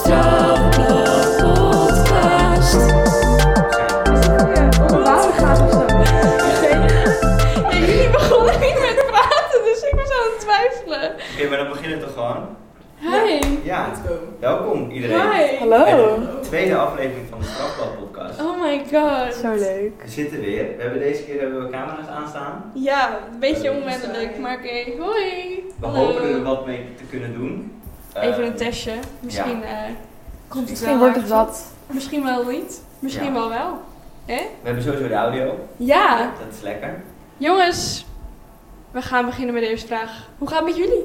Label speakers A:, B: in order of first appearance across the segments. A: Strafblad Podcast.
B: Waarom gaat of zo? Ja, jullie begonnen niet met praten, dus ik was aan het twijfelen.
C: Oké, maar dan beginnen we toch gewoon?
B: Hi.
C: Ja, welkom iedereen.
B: Hi.
C: Bij
D: Hallo.
C: de tweede aflevering van de Strafblad Podcast.
B: Oh my god.
D: Zo leuk.
C: We zitten weer. We hebben deze keer hebben we camera's aanstaan.
B: Ja, een beetje onwennelijk, maar oké. Hoi.
C: We hopen er wat mee te kunnen doen. Eh,
B: Even een testje. Misschien eh, komt het wel.
D: Misschien wordt het
B: uit.
D: wat.
B: Misschien wel niet. Misschien
C: Ja.
B: wel wel.
C: We hebben sowieso de audio.
B: Ja.
C: Dat is lekker.
B: Jongens, we gaan beginnen met de eerste vraag. Hoe gaat het met jullie?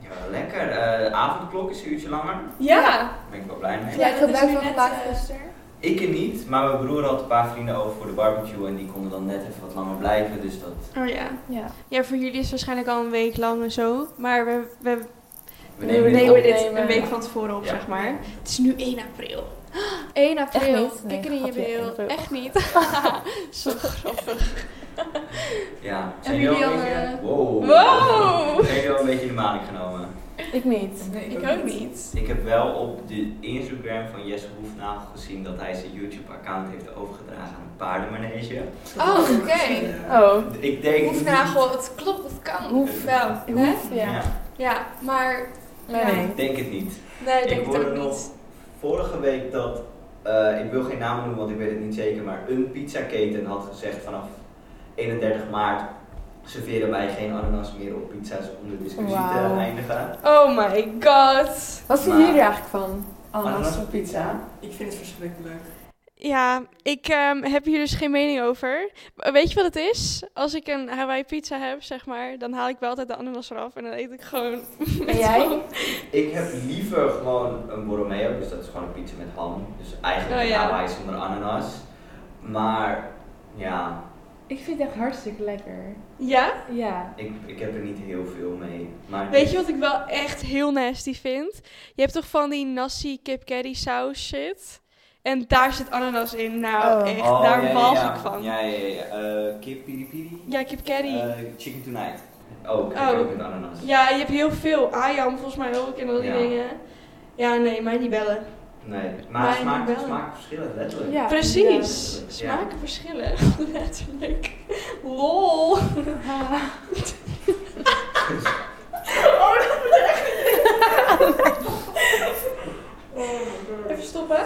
C: Ja, lekker. Eh, de avondklok is een uurtje langer.
B: Ja.
C: Daar ben ik wel blij mee.
A: Ja,
D: Ja,
A: dat
D: ik heb
A: is
D: blij
A: nu
D: van
A: net,
D: gemaakt
A: eh,
D: gisteren.
C: Ik er niet, maar mijn broer had een paar vrienden over voor de barbecue en die konden dan net even wat langer blijven. Dus dat...
B: Oh ja.
D: Ja.
B: Ja, voor jullie is het waarschijnlijk al een week lang en zo. Maar we, we
C: We nemen
D: Nee,
C: dit
B: nemen
C: op.
D: we
B: dit
D: nemen.
B: een week van tevoren op,
C: Ja.
B: zeg maar. Het is nu 1 april. 1 april.
D: Echt niet? Nee,
B: Kikker in je
D: grapje, 1
B: bril.
D: april.
B: Echt niet. Zo grappig.
C: Ja.
B: En
C: Zijn jullie al een
B: jullie al,
C: beetje...
B: eh,
C: Wow.
B: Wow.
C: Zijn jullie al een beetje in de maling genomen?
D: Ik niet.
B: Ik ook niet.
C: Ik heb wel op de Instagram van Jesse Hoefnagel gezien dat hij zijn YouTube-account heeft overgedragen aan een paardenmanege.
A: Oh, oké.
D: Oh.
C: Ik denk.
A: Hoefnagel, het klopt, het kan.
D: Hoef-
A: wel. Hè?
D: Hoef,
C: Ja.
D: ja.
A: Ja, maar
D: Nee.
C: ik denk het niet.
A: nee, ik
C: ik
A: denk het
C: hoorde
A: ook
C: nog
A: niet.
C: vorige week dat. eh, ik wil geen namen noemen, want ik weet het niet zeker. Maar een pizzaketen had gezegd vanaf 31 maart serveren wij geen ananas meer op pizza's om de discussie te
D: Wauw.
C: eindigen.
B: Oh my god.
D: Wat vinden
C: Maar- Ah,
D: jullie er eigenlijk van?
C: Ananas op pizza?
E: Ik vind het verschrikkelijk.
B: Ja, ik ehm, heb hier dus geen mening over. Maar Weet je wat het is? Als ik een Hawaii pizza heb, zeg maar, dan haal ik wel altijd de ananas eraf en dan eet ik gewoon met
D: jij?
B: ham.
C: Ik heb liever gewoon een Borromeo, dus dat is gewoon een pizza met ham. Dus eigenlijk
B: Oh,
C: een
B: ja.
C: Hawaii zonder ananas. Maar ja,
D: Ik vind het echt hartstikke lekker.
B: Ja?
D: Ja.
C: ik, ik heb er niet heel veel mee. Maar
B: Weet je wat ik wel echt heel nasty vind? Je hebt toch van die nasi kip curry saus shit? En daar zit ananas in. Nou,
D: Oh.
B: echt,
C: Oh,
B: daar
C: ja, ja,
B: walg
C: ja.
B: ik van. Ja,
C: Ja, ja, ja. ja. Eh, kip piri piri.
B: kip curry.
C: Eh, chicken tonight. Ook, ik heb
B: Oh.
C: ook met ananas.
B: Ja, je hebt heel veel. Ayam volgens mij ook en al die
C: Ja.
B: dingen. Ja, nee, mij niet bellen.
C: Nee, maar
B: Maar
C: smaak,
B: wel.
C: smaak verschillen, letterlijk.
D: Ja.
B: Precies.
C: Ja.
B: Smaken verschillen. Letterlijk. Lol.
D: Ja.
B: Oh Even stoppen.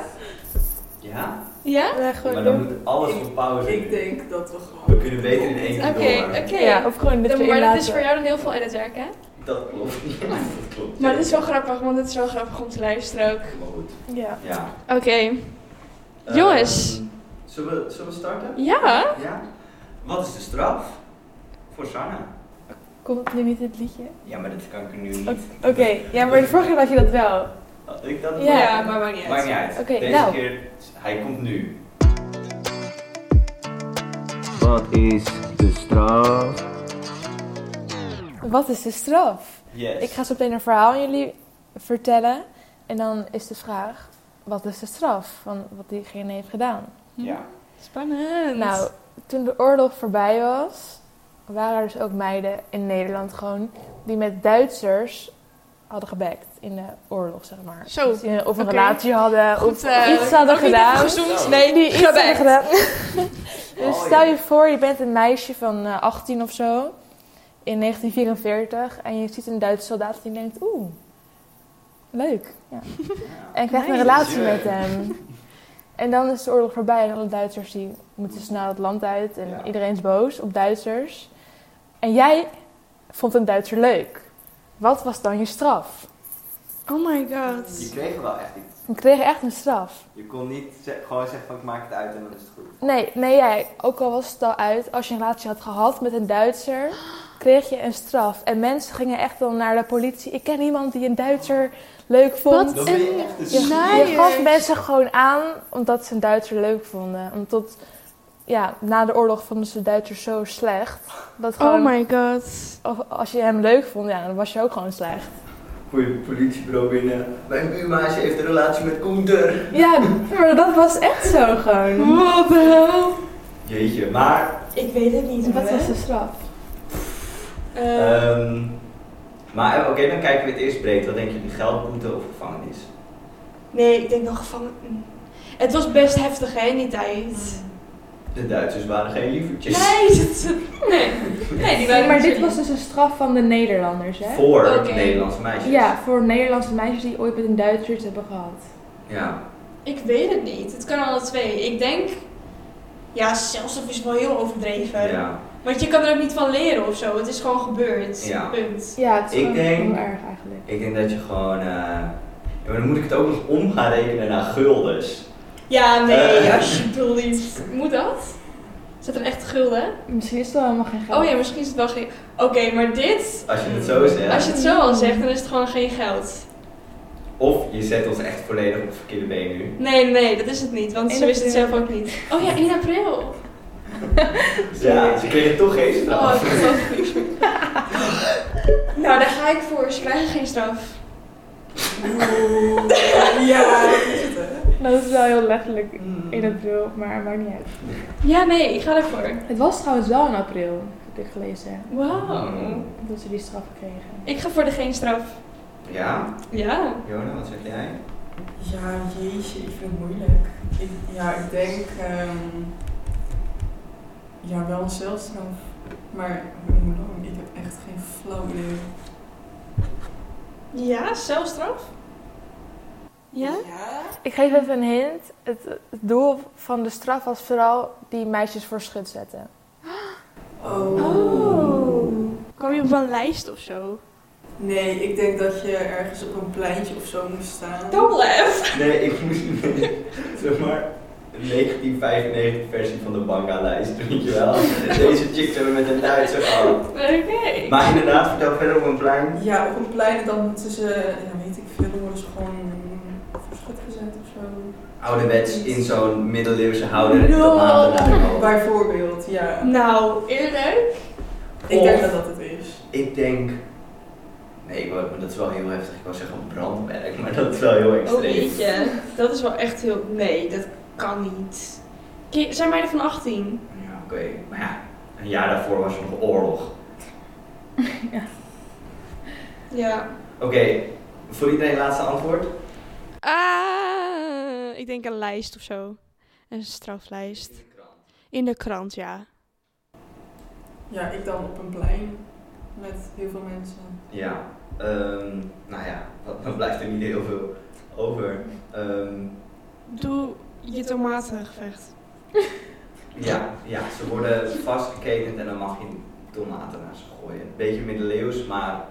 C: Ja?
B: Ja?
D: Ja, gewoon
C: maar dan
D: doen.
C: moet alles op pauze.
E: Ik denk dat we gewoon.
C: We kunnen beter in één
B: Oké,
C: keer door.
B: oké.
D: Ja, of gewoon dit
B: Dan-
D: weer
B: maar dat
D: laten.
B: is voor jou dan heel veel editwerk, hè?
C: Dat klopt niet. dat klopt.
B: Maar dat is wel grappig, want het is wel grappig om te luisteren ook.
C: Maar goed,
D: Ja.
C: ja.
B: Oké. Jongens.
C: Ehm, zullen, we, zullen we starten?
B: Ja.
C: Ja. Wat is de straf? Voor Sanne.
D: Komt nu niet het liedje?
C: Ja, maar dat kan ik nu niet.
D: Oké, ja, maar de vorige keer had je dat wel.
C: Had ik dat
D: Ja.
B: maar maakt niet
C: Maakt niet uit.
D: Oké,
C: Deze
D: nou.
C: keer, hij komt nu. Wat is de straf?
D: Wat is de straf?
C: Yes.
D: Ik ga zo meteen een verhaal aan jullie vertellen. En dan is de vraag, wat is de straf van wat diegene heeft gedaan?
C: Ja.
B: Hm? Spannend.
D: Nou, toen de oorlog voorbij was, waren er dus ook meiden in Nederland gewoon die met Duitsers hadden gebekt in de oorlog, zeg maar.
B: Zo,
D: Dus die, eh, of een
B: oké.
D: relatie hadden, of
B: eh,
D: iets hadden
B: ook niet
D: gedaan.
B: even gezoend.
D: Nee, die iets hadden
B: Gebekt.
D: gedaan. dus
C: Oh,
D: stel
C: ja.
D: je voor, je bent een meisje van eh, 18 of zo, in 1944, en je ziet een Duitse soldaat en je denkt, oeh, leuk. Ja. En krijgt een
B: Nice.
D: relatie
C: Ja.
D: met hem. En dan is de oorlog voorbij en alle Duitsers die moeten snel het land uit. En
C: Ja.
D: iedereen is boos op Duitsers. En jij vond een Duitser leuk. Wat was dan je straf?
B: Oh my god.
C: Je kreeg wel echt iets.
D: We kregen echt een straf.
C: Je kon niet ze- gewoon zeggen van ik maak het uit en dan is het goed.
D: Nee, nee jij, ook al was het al uit, als je een relatie had gehad met een Duitser, kreeg je een straf. En mensen gingen echt dan naar de politie. Ik ken iemand die een Duitser leuk vond.
C: Dan ben je echt een
D: Je,
B: Nice.
D: je gaf mensen gewoon aan omdat ze een Duitser leuk vonden. Omdat, ja, na de oorlog vonden ze Duitsers zo slecht. Dat gewoon,
B: Oh my god.
D: of als je hem leuk vond, ja, dan was je ook gewoon slecht.
C: Voor je politiebureau binnen. Mijn buurmaatje heeft een relatie met Koenter.
D: Ja, maar dat was echt zo gewoon.
B: What the hell?
C: Jeetje, maar
B: Ik weet het niet. Eh,
C: Eh.
D: Wat was de straf?
C: ehm, Maar eh, oké, dan kijken we het eerst breed. Wat denken jullie? Geldboete of gevangenis?
B: Nee, ik denk wel gevangen. mm. Het was best heftig, hè, in die tijd.
C: De Duitsers waren geen lievertjes.
B: Nee, dat, nee. nee die waren
D: maar dit
B: natuurlijk-
D: was dus een straf van de Nederlanders, hè?
C: Voor
B: Oké.
C: Nederlandse meisjes.
D: Ja, voor Nederlandse meisjes die ooit met een Duitser iets hebben gehad.
C: Ja.
B: Ik weet het niet. Het kan alle twee. Ik denk... Ja, zelfs is wel heel overdreven.
C: ja.
B: Want je kan er ook niet van leren of zo. Het is gewoon gebeurd.
C: Ja.
B: Punt.
D: Ja, het is
C: Ik
D: gewoon
C: denk-
D: heel erg eigenlijk.
C: Ik denk dat je gewoon. eh, Ja, maar dan moet ik het ook nog om gaan rekenen naar guldens.
B: Ja, nee,
C: Eh.
B: alsjeblieft. Moet dat? Is dat een echte gulden?
D: Misschien is het wel helemaal geen geld.
B: Oh ja, misschien is het wel geen... Oké, maar dit...
C: Als je het zo zegt.
B: Als je het zo al zegt, dan is het gewoon geen geld.
C: Of je zet ons echt volledig op het verkeerde been nu.
B: Nee, nee, dat is het niet. Want ze
D: In
B: wist het
D: april.
B: zelf ook niet. Oh ja, 1 april.
C: Ja, ze kregen toch geen
B: Oh,
C: straf.
B: ik geloof het niet. Nou, daar ga ik voor. Ze krijgen geen straf.
E: Ja, dat is het, hè?
D: Dat is wel heel letterlijk
C: Hmm.
D: in april, maar het maakt niet uit.
B: Ja, nee, ik ga daarvoor.
D: Het was trouwens wel in april, heb ik gelezen,
B: Wauw.
D: dat ze die straf kregen.
B: Ik ga voor de geen straf.
C: Ja,
B: Ja.
C: Jona, wat zeg jij?
E: Ja, jeetje, ik vind het moeilijk. Ik, ja, ik denk... ehm, ja, wel een celstraf. Maar hoe lang? Ik heb echt geen flauw idee.
B: Ja, zelfstraf? Ja?
E: Ja?
D: Ik geef even een hint. Het, het doel van de straf was vooral die meisjes voor schut zetten.
E: Oh.
A: Oh.
F: Kwam je op een lijst of zo?
E: Nee, ik denk dat je ergens op een pleintje of zo moest staan.
B: Don't laugh.
C: Nee, ik moest zeg maar een 1995 versie van de Banga-lijst, weet je wel. Deze chicks hebben met een Duitser gehad.
B: Oké.
C: Maar inderdaad, vertel verder op een plein.
E: Ja, op een plein en dan moeten ze, ja, weet ik veel, dan worden ze gewoon voor schut gezet of zo.
C: Ouderwets in zo'n middeleeuwse houder. Dat maanden
B: Oh.
C: al.
E: Bijvoorbeeld, ja.
B: Nou, eerlijk?
E: Ik
C: Of-
E: denk dat dat het is.
C: Ik denk... Nee, ik wou- maar dat is wel heel heftig. Ik wou zeggen een brandmerk, maar dat is wel heel
B: Oh,
C: extreem.
B: jeetje. Dat is wel echt heel... Nee, dat kan niet. Ki- Zijn meiden van 18?
C: Ja, oké. Maar ja, een jaar daarvoor was er nog oorlog.
B: Ja.
C: Oké, voor iedereen laatste antwoord?
F: Ah, ik denk een lijst of zo. Een straflijst. In de krant, ja.
E: Ja, ik dan op een plein met heel veel mensen.
C: Ja, ehm, nou ja, dan- dan blijft er niet heel veel over. Ehm,
F: Doe je tomatengevecht.
C: ja, ja, ze worden vastgeketend en dan mag je tomaten naar ze gooien. Beetje middeleeuws, maar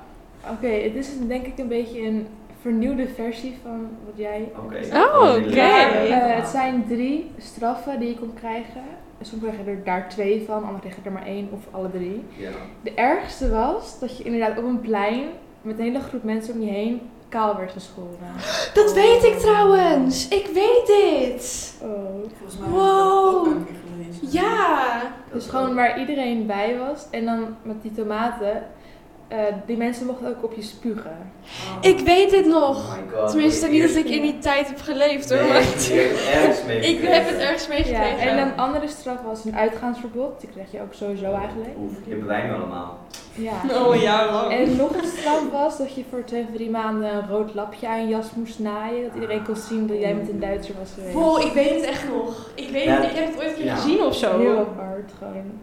D: Oké, het is denk ik een beetje een vernieuwde versie van wat jij...
C: oké.
F: Oh,
C: Gewoon middeleeuws,
B: oké.
C: eh,
D: Eh, het zijn drie straffen die je kon krijgen. Sommigen kregen er daar twee van, anderen kregen er maar één of alle drie.
C: Ja.
D: De ergste was dat je inderdaad op een plein met een hele groep mensen om je heen kaal werd geschoren.
B: Dat weet ik trouwens. Ik weet dit.
D: Oh.
E: Volgens mij heb ik dat ook een keer gelezen.
B: Ja.
D: Dus gewoon waar iedereen bij was en dan met die tomaten. eh, die mensen mochten ook op je spugen.
E: Oh.
B: Ik weet dit nog.
C: Oh my god.
B: Tenminste, niet dat
C: Eerst-
B: ik in die tijd heb geleefd hoor.
C: Nee,
B: maar-
C: je hebt het ergens mee
B: Ik heb het ergens
D: Ja,
B: meegekregen.
D: en dan andere straf was een uitgaansverbod. Die kreeg je ook sowieso eigenlijk.
C: Oef, die hebben wij nu allemaal.
D: Ja.
B: Oh, een jaar lang.
D: En nog een straf was dat je voor twee of drie maanden een rood lapje aan je jas moest naaien. Dat iedereen kon zien dat jij met een Duitser was geweest.
B: Wow, ik weet het echt nog. Ik weet
C: Ja.
B: het, ik heb het ooit een keer
C: Ja.
B: gezien of zo.
D: Heel apart gewoon.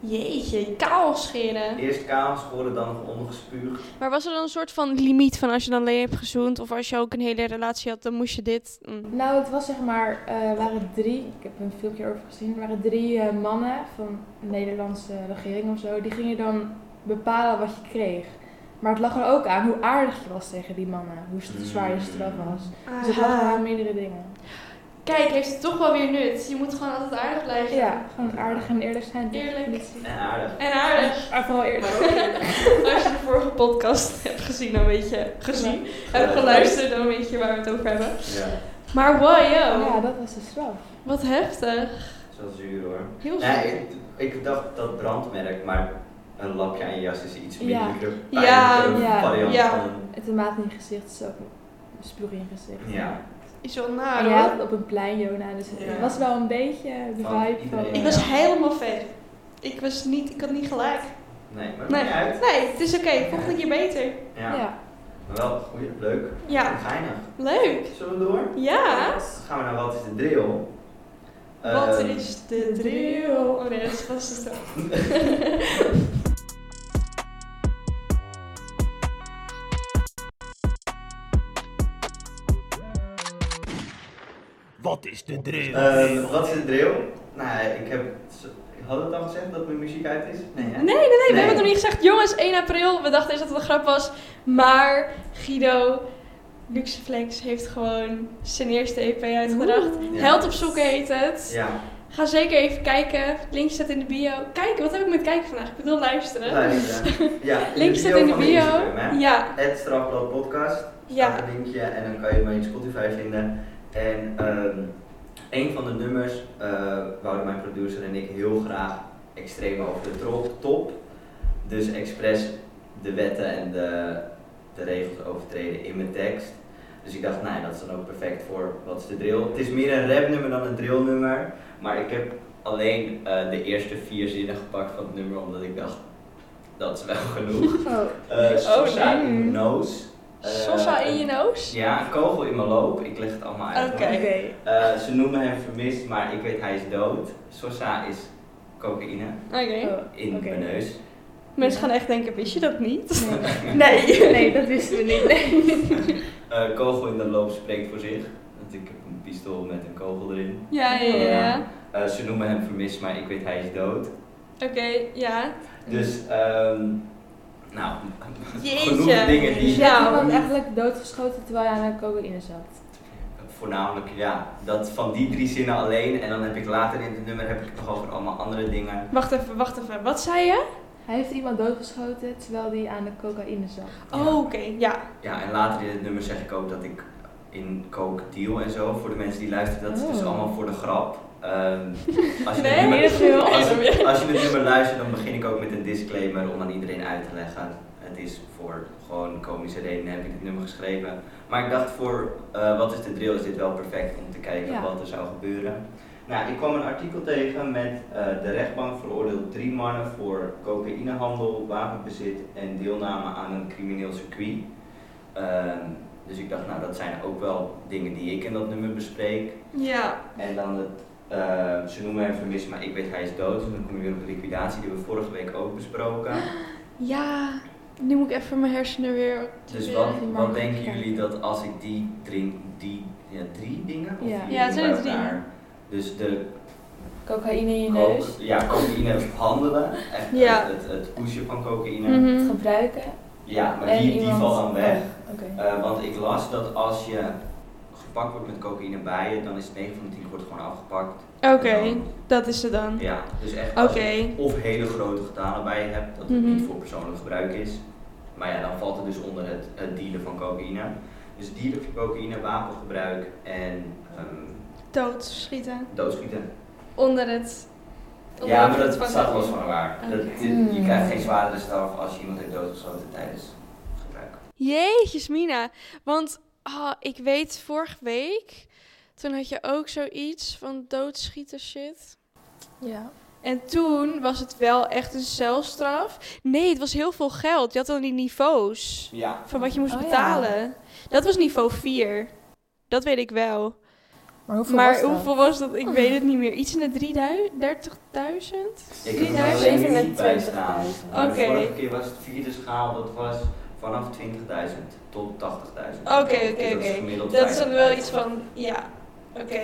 B: Jeetje, kaal scheren.
C: Eerst kaal schoren, dan nog ondergespuugd.
F: Maar was er dan een soort van limiet van als je dan alleen hebt gezoend of als je ook een hele relatie had, dan moest je dit? Mm.
D: Nou, het was zeg maar, eh, waren drie, ik heb er een filmpje over gezien, waren drie eh, mannen van de Nederlandse regering of zo, die gingen dan bepalen wat je kreeg. Maar het lag er ook aan hoe aardig je was tegen die mannen, hoe
C: Mm.
D: st- zwaar je straf was. Dus het lag er aan meerdere dingen.
B: Kijk, heeft het toch wel weer nut. Je moet gewoon altijd aardig blijven.
D: Ja, gewoon aardig en eerlijk zijn. tegen de
B: Eerlijk.
D: politie.
C: En aardig.
B: En aardig.
D: Maar vooral eerlijk.
E: Maar ook-
B: Als je de vorige podcast hebt gezien, dan weet je... Gezien? Hebt geluisterd, dan weet je waar we het over hebben.
C: Ja,
B: Maar wow, yo.
D: Ja, dat was de straf.
B: Wat heftig.
C: dat is wel zuur hoor.
B: Heel
C: Nee,
B: ziek.
C: ik, ik dacht dat brandmerk, maar een lapje aan je jas is iets
D: Ja.
C: minder
B: Ja,
D: ja,
C: variant
B: ja.
C: van een-
D: Het tomaat in je gezicht is ook een spuug in je gezicht.
C: Ja,
F: Is wel
B: Ah,
D: Maar
F: naar
D: ja, op een plein, Jona, dus het
E: Ja.
D: was wel een beetje de
C: Van
D: vibe van... eh,
C: iedereen.
B: Ik was helemaal ver. Ik was niet... Ik had niet gelijk.
C: Nee, maar dat
B: Nee.
C: maakt niet uit.
B: Nee, het is oké. Volgende keer beter.
C: Ja. Maar wel goed, leuk.
B: Ja,
C: Geinig.
B: leuk.
C: Zullen we door?
B: Ja.
C: Dan gaan we naar wat is de drill?
B: Wat
C: Ehm,
B: is de drill? Oh nee, dat is vast het wel.
G: Wat is de drill?
C: ehm, wat is de drill? Nou, ik heb... Ik had het al gezegd dat mijn muziek uit is? Nee, hè?
B: Nee, nee, nee, we
C: Nee.
B: hebben het nog niet gezegd. Jongens, 1 april. We dachten eerst dat het een grap was. Maar Guido Luxeflex heeft gewoon zijn eerste EP uitgebracht.
C: Ja.
B: Held op zoek heet het.
C: Ja,
B: Ga zeker even kijken. Linkje staat in de bio. Kijken, wat heb ik met kijken vandaag? Ik bedoel luisteren.
C: Nou, luister. Ja,
B: Linkje staat in de bio. Ja,
C: Het Strafblad Podcast.
B: ja.
C: Staat een linkje en dan kan je mij in Spotify vinden. En ehm, een van de nummers eh wouden mijn producer en ik heel graag extreem over de tro- top. Dus expres de wetten en de, de regels overtreden in mijn tekst. Dus ik dacht, nou ja, dat is dan ook perfect voor wat is de drill. Het is meer een rapnummer dan een drillnummer. Maar ik heb alleen eh, de eerste vier zinnen gepakt van het nummer, omdat ik dacht, dat is wel genoeg.
D: Oh,
C: Eh Sosa
B: nee.
C: in mijn neus. Eh,
B: Sosa in je neus.
C: Ja, een kogel in mijn loop. Ik leg het allemaal uit.
B: Oké.
C: hoor. Eh, ze noemen hem vermist, maar ik weet hij is dood. Sosa is cocaïne
B: Oké.
D: oh,
C: in
D: Oké.
C: mijn neus.
B: Mensen gaan echt denken, wist je dat niet?
D: Nee. nee, dat wisten we niet. Nee.
C: Eh, kogel in de loop spreekt voor zich. Want ik heb een pistool met een kogel erin.
B: Ja, ja, ja. ja.
C: Eh, ze noemen hem vermist, maar ik weet hij is dood.
B: Oké, ja.
C: Dus, ehm nou,
B: Jeetje.
C: genoeg dingen die...
D: Je hebt
B: Ja.
D: iemand eigenlijk doodgeschoten terwijl je aan een cocaïne zat.
C: Voornamelijk, ja, dat van die drie zinnen alleen. En dan heb ik later in het nummer heb ik het nog over allemaal andere dingen.
B: Wacht even, wacht even. Wat zei je?
D: Hij heeft iemand doodgeschoten terwijl hij aan de cocaïne zat.
B: Oh,
C: Ja.
B: oké. Ja.
C: Ja, en later in het nummer zeg ik ook dat ik in coke deal en zo. Voor de mensen die luisteren, dat is dus
D: Oh.
C: allemaal voor de grap. Ehm, als, je het
B: Nee,
C: nummer,
B: heel veel.
C: als,
B: Alsof je-
C: als je het nummer luistert, dan begin ik ook met een disclaimer om aan iedereen uit te leggen. Het is voor gewoon komische redenen heb ik dit nummer geschreven. Maar ik dacht voor eh, wat is de drill, is dit wel perfect om te kijken
D: Ja.
C: wat er zou gebeuren. Nou, ik kwam een artikel tegen met eh, de rechtbank veroordeelt drie mannen voor cocaïnehandel, wapenbezit en deelname aan een crimineel circuit. Ehm, dus ik dacht, nou dat zijn ook wel dingen die ik in dat nummer bespreek.
B: Ja.
C: En dan het, eh, ze noemen hem vermist, maar ik weet hij is dood. Dus dan kom je weer op de liquidatie, die we vorige week ook besproken.
B: Ja. Nu moet ik even mijn hersenen weer...
C: Dus wat,
D: die man
C: wat denken
D: gekend.
C: jullie dat als ik die drie, die, ja, drie dingen? Of
D: Ja.
C: vier
B: Ja, het zijn
C: bij
B: er drie.
C: elkaar? Dus de
H: Cocaïne in je
C: co-
H: neus.
C: ja, cocaïne handelen, echt
B: Ja.
C: het, het, het pushen van cocaïne.
H: Het
B: Mhm.
H: gebruiken.
C: Ja, maar
H: En
C: die, die
H: iemand- Oh,
C: valt dan weg.
H: Oké.
C: Eh, want ik las dat als je gepakt wordt met cocaïne bij je, dan is 9 van de 10 wordt gewoon afgepakt.
B: Oké,
C: En
B: dat is het dan.
C: dan- Ja, dus echt
B: Oké.
C: als je of hele grote getalen bij je hebt, dat het
B: Mhm.
C: niet voor persoonlijk gebruik is. Maar ja, dan valt het dus onder het, het dealen van cocaïne. Dus dealen van cocaïne, wapengebruik en ehm
B: Dood schieten.
C: doodschieten.
B: Onder het... onder
C: Ja,
B: het
C: maar dat
B: van-
C: staat los van elkaar.
B: Oké.
C: Dat, je, je krijgt geen zwaardere straf als je iemand heeft doodgeschoten tijdens gebruik.
B: Jeetjes, Mina. Want ah, ik weet, vorige week, toen had je ook zoiets van doodschieten shit.
H: Ja.
B: En toen was het wel echt een celstraf. Nee, het was heel veel geld. Je had dan die niveaus
C: Ja.
B: van wat je moest
H: Oh, ja.
B: betalen. Dat was niveau 4. Dat weet ik wel.
H: Maar hoeveel
B: maar
H: was dat?
B: hoeveel was dat? Ik weet het niet meer. Iets in de 30.000?
C: Ik heb er
B: 3000
C: alleen
H: met
C: muziek bij
H: 20.000.
C: staan.
H: Oké.
C: Maar De vorige keer was het vierde schaal, dat was vanaf 20.000 tot 80.000.
B: Oké, oké, oké. Dat is dan wel iets van, ja, oké.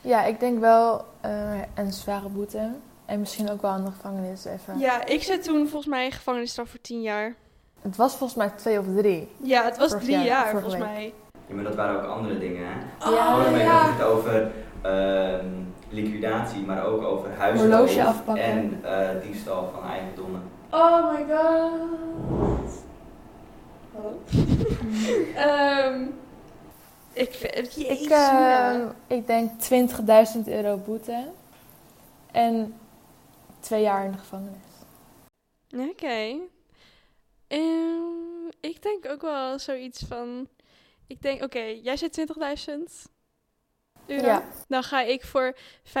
H: Ja, ik denk wel eh, een zware boete. En misschien ook wel aan de gevangenis even.
B: Ja, ik zat toen volgens mij gevangenisstraf voor 10 jaar.
H: Het was volgens mij twee of drie.
B: Ja, het was
H: Vorig
B: drie
H: jaar,
B: jaar
H: vorige
B: volgens
H: week.
B: mij.
C: Ja, maar dat waren ook andere dingen, hè?
D: Oh,
H: Ja,
C: Vorige week
B: ja.
C: had Oh, ik het over ehm, liquidatie, maar ook over huishouden.
H: Horloge afpakken.
C: En eh, diefstal van eigendommen.
B: Oh my god. Hallo? Ehm, ik vind...
H: Ik,
B: Jezus,
H: eh,
B: Mina.
H: ik denk 20.000 euro boete. En twee jaar in de gevangenis.
B: eh, Oké. Ehm, ik denk ook wel zoiets van... Ik denk, oké, jij zit 20.000 euro.
H: Ja.
B: Dan ga ik voor 25.000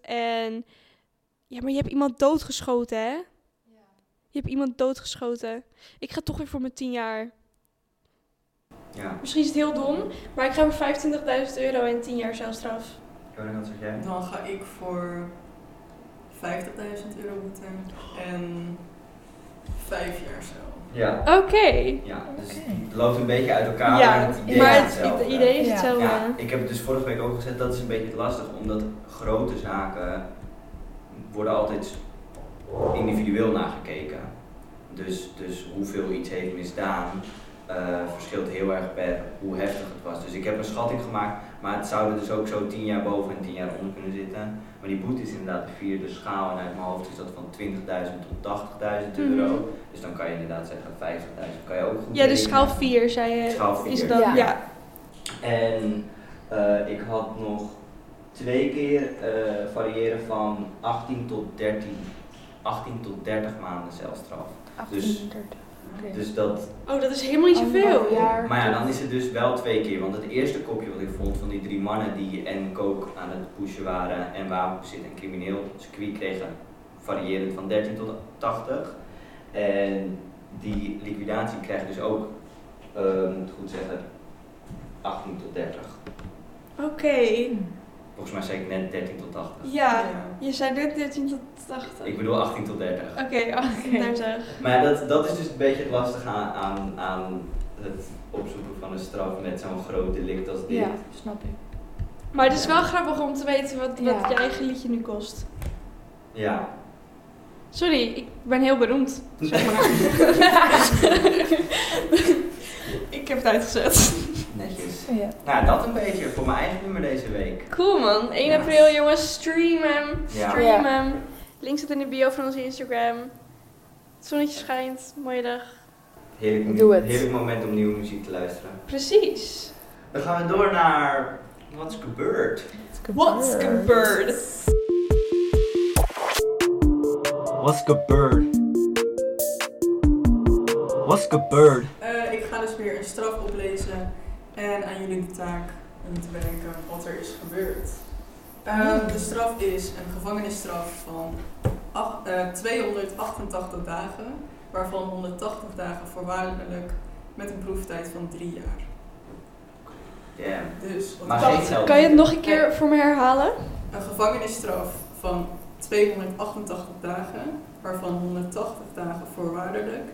B: en... Ja, maar je hebt iemand doodgeschoten, hè? Je hebt iemand doodgeschoten. Ik ga toch weer voor mijn 10 jaar.
C: Ja,
B: Misschien is het heel dom, maar ik ga voor 25.000 euro en 10 jaar celstraf.
C: Jonan, wat zeg jij?
E: Dan ga ik voor 50.000 euro boete en vijf jaar cel.
C: Ja,
B: Oké.
C: ja. Dus
D: Oké.
C: het loopt een beetje uit elkaar.
B: Ja,
C: het idee
B: maar
C: is
B: het,
C: hetzelfde.
B: het idee is
D: Ja.
B: hetzelfde.
C: Ja, ik heb het dus vorige week ook gezegd, dat is een beetje lastig, omdat grote zaken worden altijd individueel nagekeken. Dus, dus hoeveel iets heeft misdaan, eh, verschilt heel erg per hoe heftig het was. Dus ik heb een schatting gemaakt, maar het zouden dus ook zo 10 jaar boven en 10 jaar onder kunnen zitten. Maar die boete is inderdaad de vierde schaal en uit mijn hoofd is dat van 20.000 tot 80.000 euro.
B: Mhm.
C: Dus dan kan je inderdaad zeggen 50.000, kan je ook goed
B: Ja, dus schaal
C: rekenen.
B: 4 zei je.
C: Schaal vier.
B: Is het dan?
D: Ja.
B: Ja.
C: En eh, ik had nog twee keer eh, variëren van 18 tot 13. 18 tot 30 maanden celstraf. Dus-
D: 38. Oké.
C: Dus dat,
B: Oh, dat is helemaal niet zoveel.
D: Anderhalf jaar.
C: maar ja, dan is het dus wel twee keer. Want het eerste kopje wat ik vond van die drie mannen die en kook aan het pushen waren en wapenbezit en crimineel circuit kregen, variërend van 13 tot 80. En die liquidatie krijgt dus ook, ehm, moet ik goed zeggen, 18 tot 30.
B: Oké.
C: Volgens mij zei ik net 13 tot 80.
B: Ja. Je zei net 13 tot 80.
C: Ik bedoel 18 tot 30.
B: Oké, 18
D: Oké.
B: naar zeg.
C: Maar ja, dat, dat is dus een beetje het lastige aan, aan, aan het opzoeken van een straf met zo'n groot delict als dit.
D: Ja, snap ik.
B: Maar het is wel grappig om te weten wat, wat
D: Ja.
B: je eigen liedje nu kost.
C: Ja.
B: Sorry, ik ben heel beroemd. Zeg maar. ik heb het uitgezet.
C: Netjes.
D: Ja.
C: Nou, dat een beetje voor mijn eigen nummer deze week.
B: Cool man. 1
C: Ja.
B: april jongens, stream hem.
C: Ja.
B: Stream hem. Link zit in de bio van onze Instagram. Het zonnetje schijnt, mooie dag.
C: Heerlijk, mu-
D: Doe het.
C: heerlijk moment om nieuwe muziek te luisteren.
B: Precies.
C: Dan gaan we door naar What's Gebeurd.
H: What's gebeurd?
C: What's Gebeurd. What's Gebeurd.
E: Eh, ik ga dus weer een straf oplezen en aan jullie de taak om te bedenken wat er is gebeurd. Ehm, de straf is een gevangenisstraf van ach- eh, 288 dagen, waarvan 180 dagen voorwaardelijk met een proeftijd van drie jaar.
C: Damn.
E: Dus wat
C: Maar
E: is dat?
C: geen geld.
B: Kan je het nog een keer voor me herhalen?
E: Een gevangenisstraf van 288 dagen, waarvan 180 dagen voorwaardelijk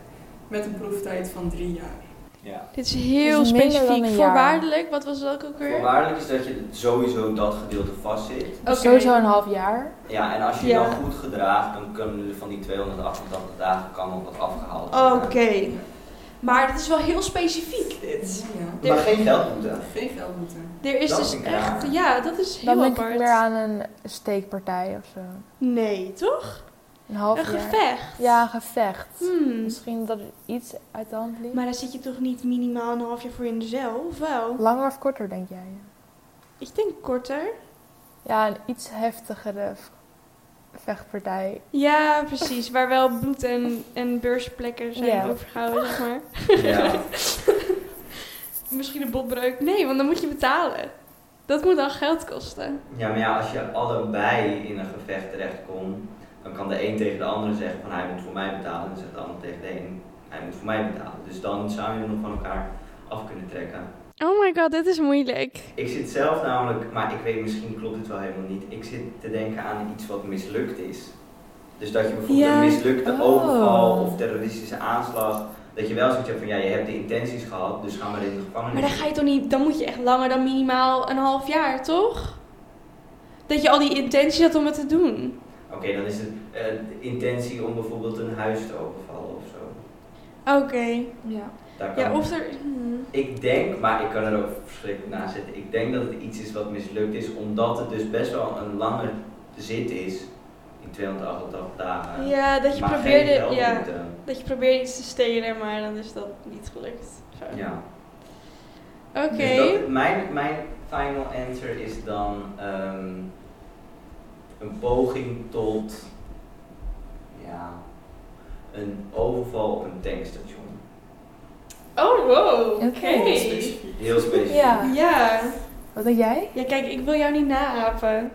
E: met een proeftijd van drie jaar.
C: Ja.
B: Dit is heel
D: Is minder dan
B: specifiek.
D: een jaar.
B: Voorwaardelijk, wat was dat ook weer?
C: Voorwaardelijk is dat je sowieso dat gedeelte vastzit.
B: Oké.
D: Dus Sowieso een half jaar.
C: Ja, en als je
B: Ja.
C: je dan goed gedraagt, dan kunnen er van die 288 dagen kan nog wat afgehaald
B: Oké.
C: worden.
B: Maar dit is wel heel specifiek, dit.
E: Ja.
C: Maar geen geldboete.
E: Geen geld moeten.
B: Er is
C: Dat
B: dus
C: vind ik raar.
B: echt... Ja, dat is heel
D: Dan denk
B: apart.
D: ik meer aan een steekpartij of zo.
B: Nee, toch?
D: Een half
B: Een
D: jaar.
B: gevecht.
D: Ja, een gevecht.
B: Hmm.
D: Misschien dat er iets uit de hand liep.
B: Maar dan zit je toch niet minimaal een half jaar voor in de cel, of wel?
D: Langer of korter, denk jij?
B: Ik denk korter.
D: Ja, een iets heftigere v- vechtpartij.
B: Ja, precies. Waar wel bloed en, en beursplekken zijn
D: Ja.
B: overgehouden, zeg maar.
C: Ja.
B: Misschien een botbreuk. Nee, want dan moet je betalen. Dat moet dan geld kosten.
C: ja, maar ja, als je allebei in een gevecht terechtkomt, dan kan de een tegen de andere zeggen van hij moet voor mij betalen. En dan zegt de ander tegen de een, hij moet voor mij betalen. Dus dan zou je nog van elkaar af kunnen trekken.
B: Oh my god, dit is moeilijk.
C: Ik zit zelf namelijk, maar ik weet misschien klopt het wel helemaal niet, ik zit te denken aan iets wat mislukt is. Dus dat je bijvoorbeeld
B: Ja.
C: een mislukte
D: Oh.
C: overval of terroristische aanslag, dat je wel zoiets hebt van ja, je hebt de intenties gehad, dus ga maar in de
B: Maar
C: gevangenis.
B: dan ga je toch niet, dan moet je echt langer dan minimaal een half jaar, toch? Dat je al die intenties had om het te doen.
C: Oké, dan is het eh, de intentie om bijvoorbeeld een huis te overvallen of zo.
B: Oké.
D: Ja.
C: Daar kan
B: Ja, of er. hmm.
C: Ik denk, maar ik kan er ook verschrikkelijk na zitten, ik denk dat het iets is wat mislukt is, omdat het dus best wel een lange zit is, die 288 dagen.
B: Ja, dat je
C: maar geen
B: probeerde. Ja,
C: geldboete.
B: dat je probeerde iets te stelen, maar dan is dat niet gelukt. Zo.
C: ja.
B: Oké.
C: Dus dat- mijn, mijn final answer is dan ehm, een poging tot ja, een overval op een tankstation.
B: Oh wow. Oké.
D: Oké.
E: Specifiek.
C: Heel specifiek.
D: Ja.
B: Ja.
D: Wat denk jij?
B: Ja, kijk, ik wil jou niet naapen.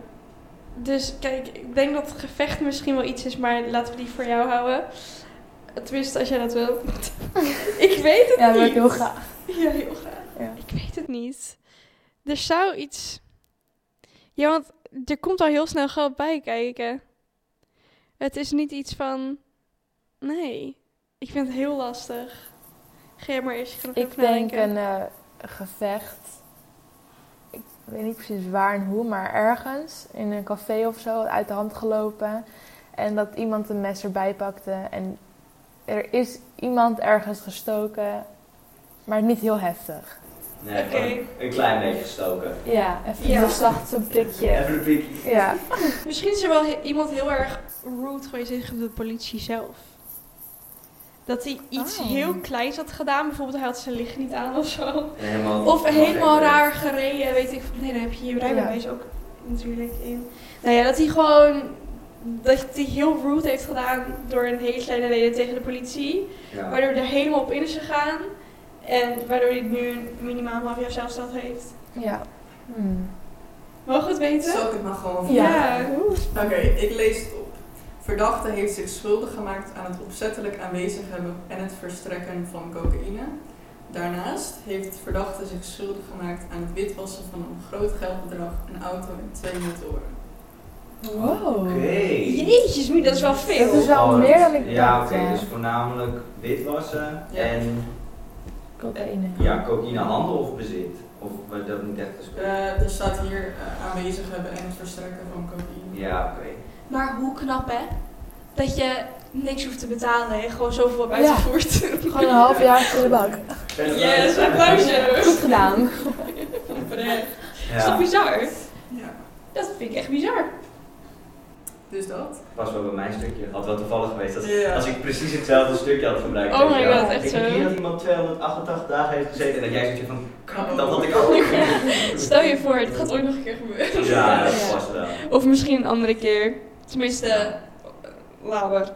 B: Dus kijk, ik denk dat gevecht misschien wel iets is, maar laten we die voor jou houden. Tenminste, als jij dat wil. ik weet het
D: Ja, dat
B: niet.
D: wil ik heel graag.
B: Ja, heel graag.
D: Ja.
B: Ik weet het niet. Er zou iets... Ja, want er komt al heel snel geld bij kijken. Het is niet iets van... Nee. Ik vind het heel lastig. Ga jij maar eerst genoeg
D: Ik denk een eh, gevecht. Ik weet niet precies waar en hoe, maar ergens in een café of zo uit de hand gelopen. En dat iemand een mes erbij pakte. En er is iemand ergens gestoken, maar niet heel heftig.
C: Nee,
B: Oké.
C: gewoon een klein beetje gestoken.
D: Ja, even
B: Ja.
D: heel zacht zo'n prikje.
C: Even een prikkie.
D: Ja.
B: Misschien is er wel he- iemand heel erg rude geweest tegen de politie zelf. Dat hij iets
D: Oh.
B: heel kleins had gedaan. Bijvoorbeeld hij had zijn licht niet aan of zo.
C: En helemaal-
B: Of helemaal raar gereden, weet ik. veel. Nee, dan heb je je rijbewijs
D: Ja.
B: ook natuurlijk in. Nou ja, dat hij gewoon... Dat hij heel rude heeft gedaan door een hele kleine reden tegen de politie.
C: Ja.
B: Waardoor hij er helemaal op in is gegaan. En waardoor hij nu een minimaal half jaar zelfstad heeft.
D: Ja. Hmm.
B: Mogen we het weten?
E: Zal ik het maar gewoon
D: Ja.
E: Oké, ik lees het op. Verdachte heeft zich schuldig gemaakt aan het opzettelijk aanwezig hebben en het verstrekken van cocaïne. Daarnaast heeft verdachte zich schuldig gemaakt aan het witwassen van een groot geldbedrag, een auto en twee motoren.
D: Wow.
C: Oké.
B: Jeetjes, Mie, dat is wel veel.
D: Dat is wel
C: Oh,
D: meer dan ik
C: Ja,
D: dacht,
C: oké,
D: ja.
C: dus voornamelijk witwassen
E: Ja.
C: en
D: Cocaïne.
C: ja, cocaïnehandel of bezit. Of wordt dat niet echt gesproken?
E: Eh, er staat hier eh, aanwezig hebben en het verstrekken van cocaïne.
C: Ja, oké.
B: Maar hoe knap, hè? Dat je niks hoeft te betalen en gewoon zoveel hebt
D: Ja.
B: uitgevoerd.
D: Gewoon een half jaar in de bak.
B: Yes, applausje.
D: Goed gedaan.
B: Oprecht. Dat is toch
C: Ja,
B: bizar?
E: Ja,
B: Dat vind ik echt bizar.
E: dus dat.
C: pas wel bij mijn stukje. Had wel toevallig geweest als,
E: Ja.
C: als ik precies hetzelfde stukje had gebruikt.
B: Oh my
C: weet je wel.
B: god, echt
C: ik denk
B: zo.
C: niet dat iemand 288 dagen heeft gezeten en dat jij zoiets van,
E: Oh.
C: "Krap, dat had ik ook.
B: Stel je voor, het gaat ooit nog een keer gebeuren.
C: Ja, dat
D: Ja.
C: past wel.
B: Of misschien een andere keer. Tenminste, eh, lauwer.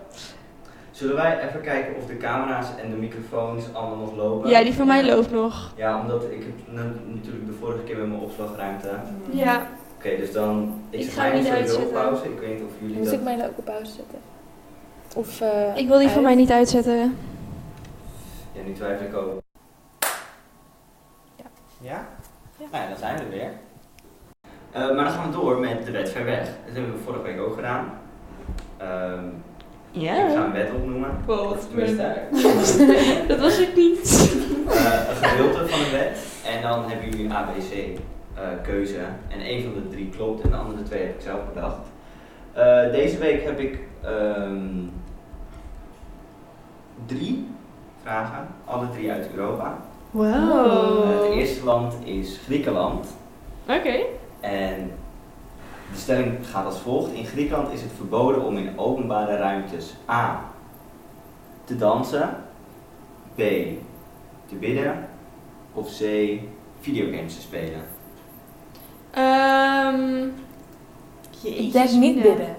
C: Zullen wij even kijken of de camera's en de microfoons allemaal nog lopen?
B: Ja, die van mij loopt nog.
C: Ja, omdat ik heb na- natuurlijk de vorige keer met mijn opslagruimte. Oké,
E: Mm.
B: Ja.
C: dus dan. Ik,
B: Ik
C: zet
B: ga
C: mij
B: hem
C: niet
B: niet
C: sowieso op
B: uitzetten.
C: pauze. Ik weet niet of jullie
D: Moet
C: dat.
D: Dus ik mij ook op pauze zetten? Of, eh,
B: Ik wil die van
D: uit?
B: mij niet uitzetten.
C: Ja, nu twijfel ik ook.
D: Ja.
C: Ja?
D: Ja.
C: Nou ja, dan zijn we weer. Eh, maar dan gaan we door met de wet ver weg. Dat hebben we vorige week ook gedaan. Ehm, Ik ga een wet opnoemen.
B: Wow, wat
C: Of tenminste,
B: Dat was ik niet.
C: eh, een gedeelte van de wet. En dan hebben jullie ABC eh, keuze. En één van de drie klopt en de andere twee heb ik zelf bedacht. Eh, deze week heb ik ehm, drie vragen, alle drie uit Europa. Eh, het
B: Oh.
C: eerste land is Griekenland.
B: Oké.
C: En de stelling gaat als volgt. In Griekenland is het verboden om in openbare ruimtes A. te dansen, B. te bidden of C. videogames te spelen.
B: Ehm
D: Ik
B: jeetjes,
D: denk niet
B: Mina.
D: bidden.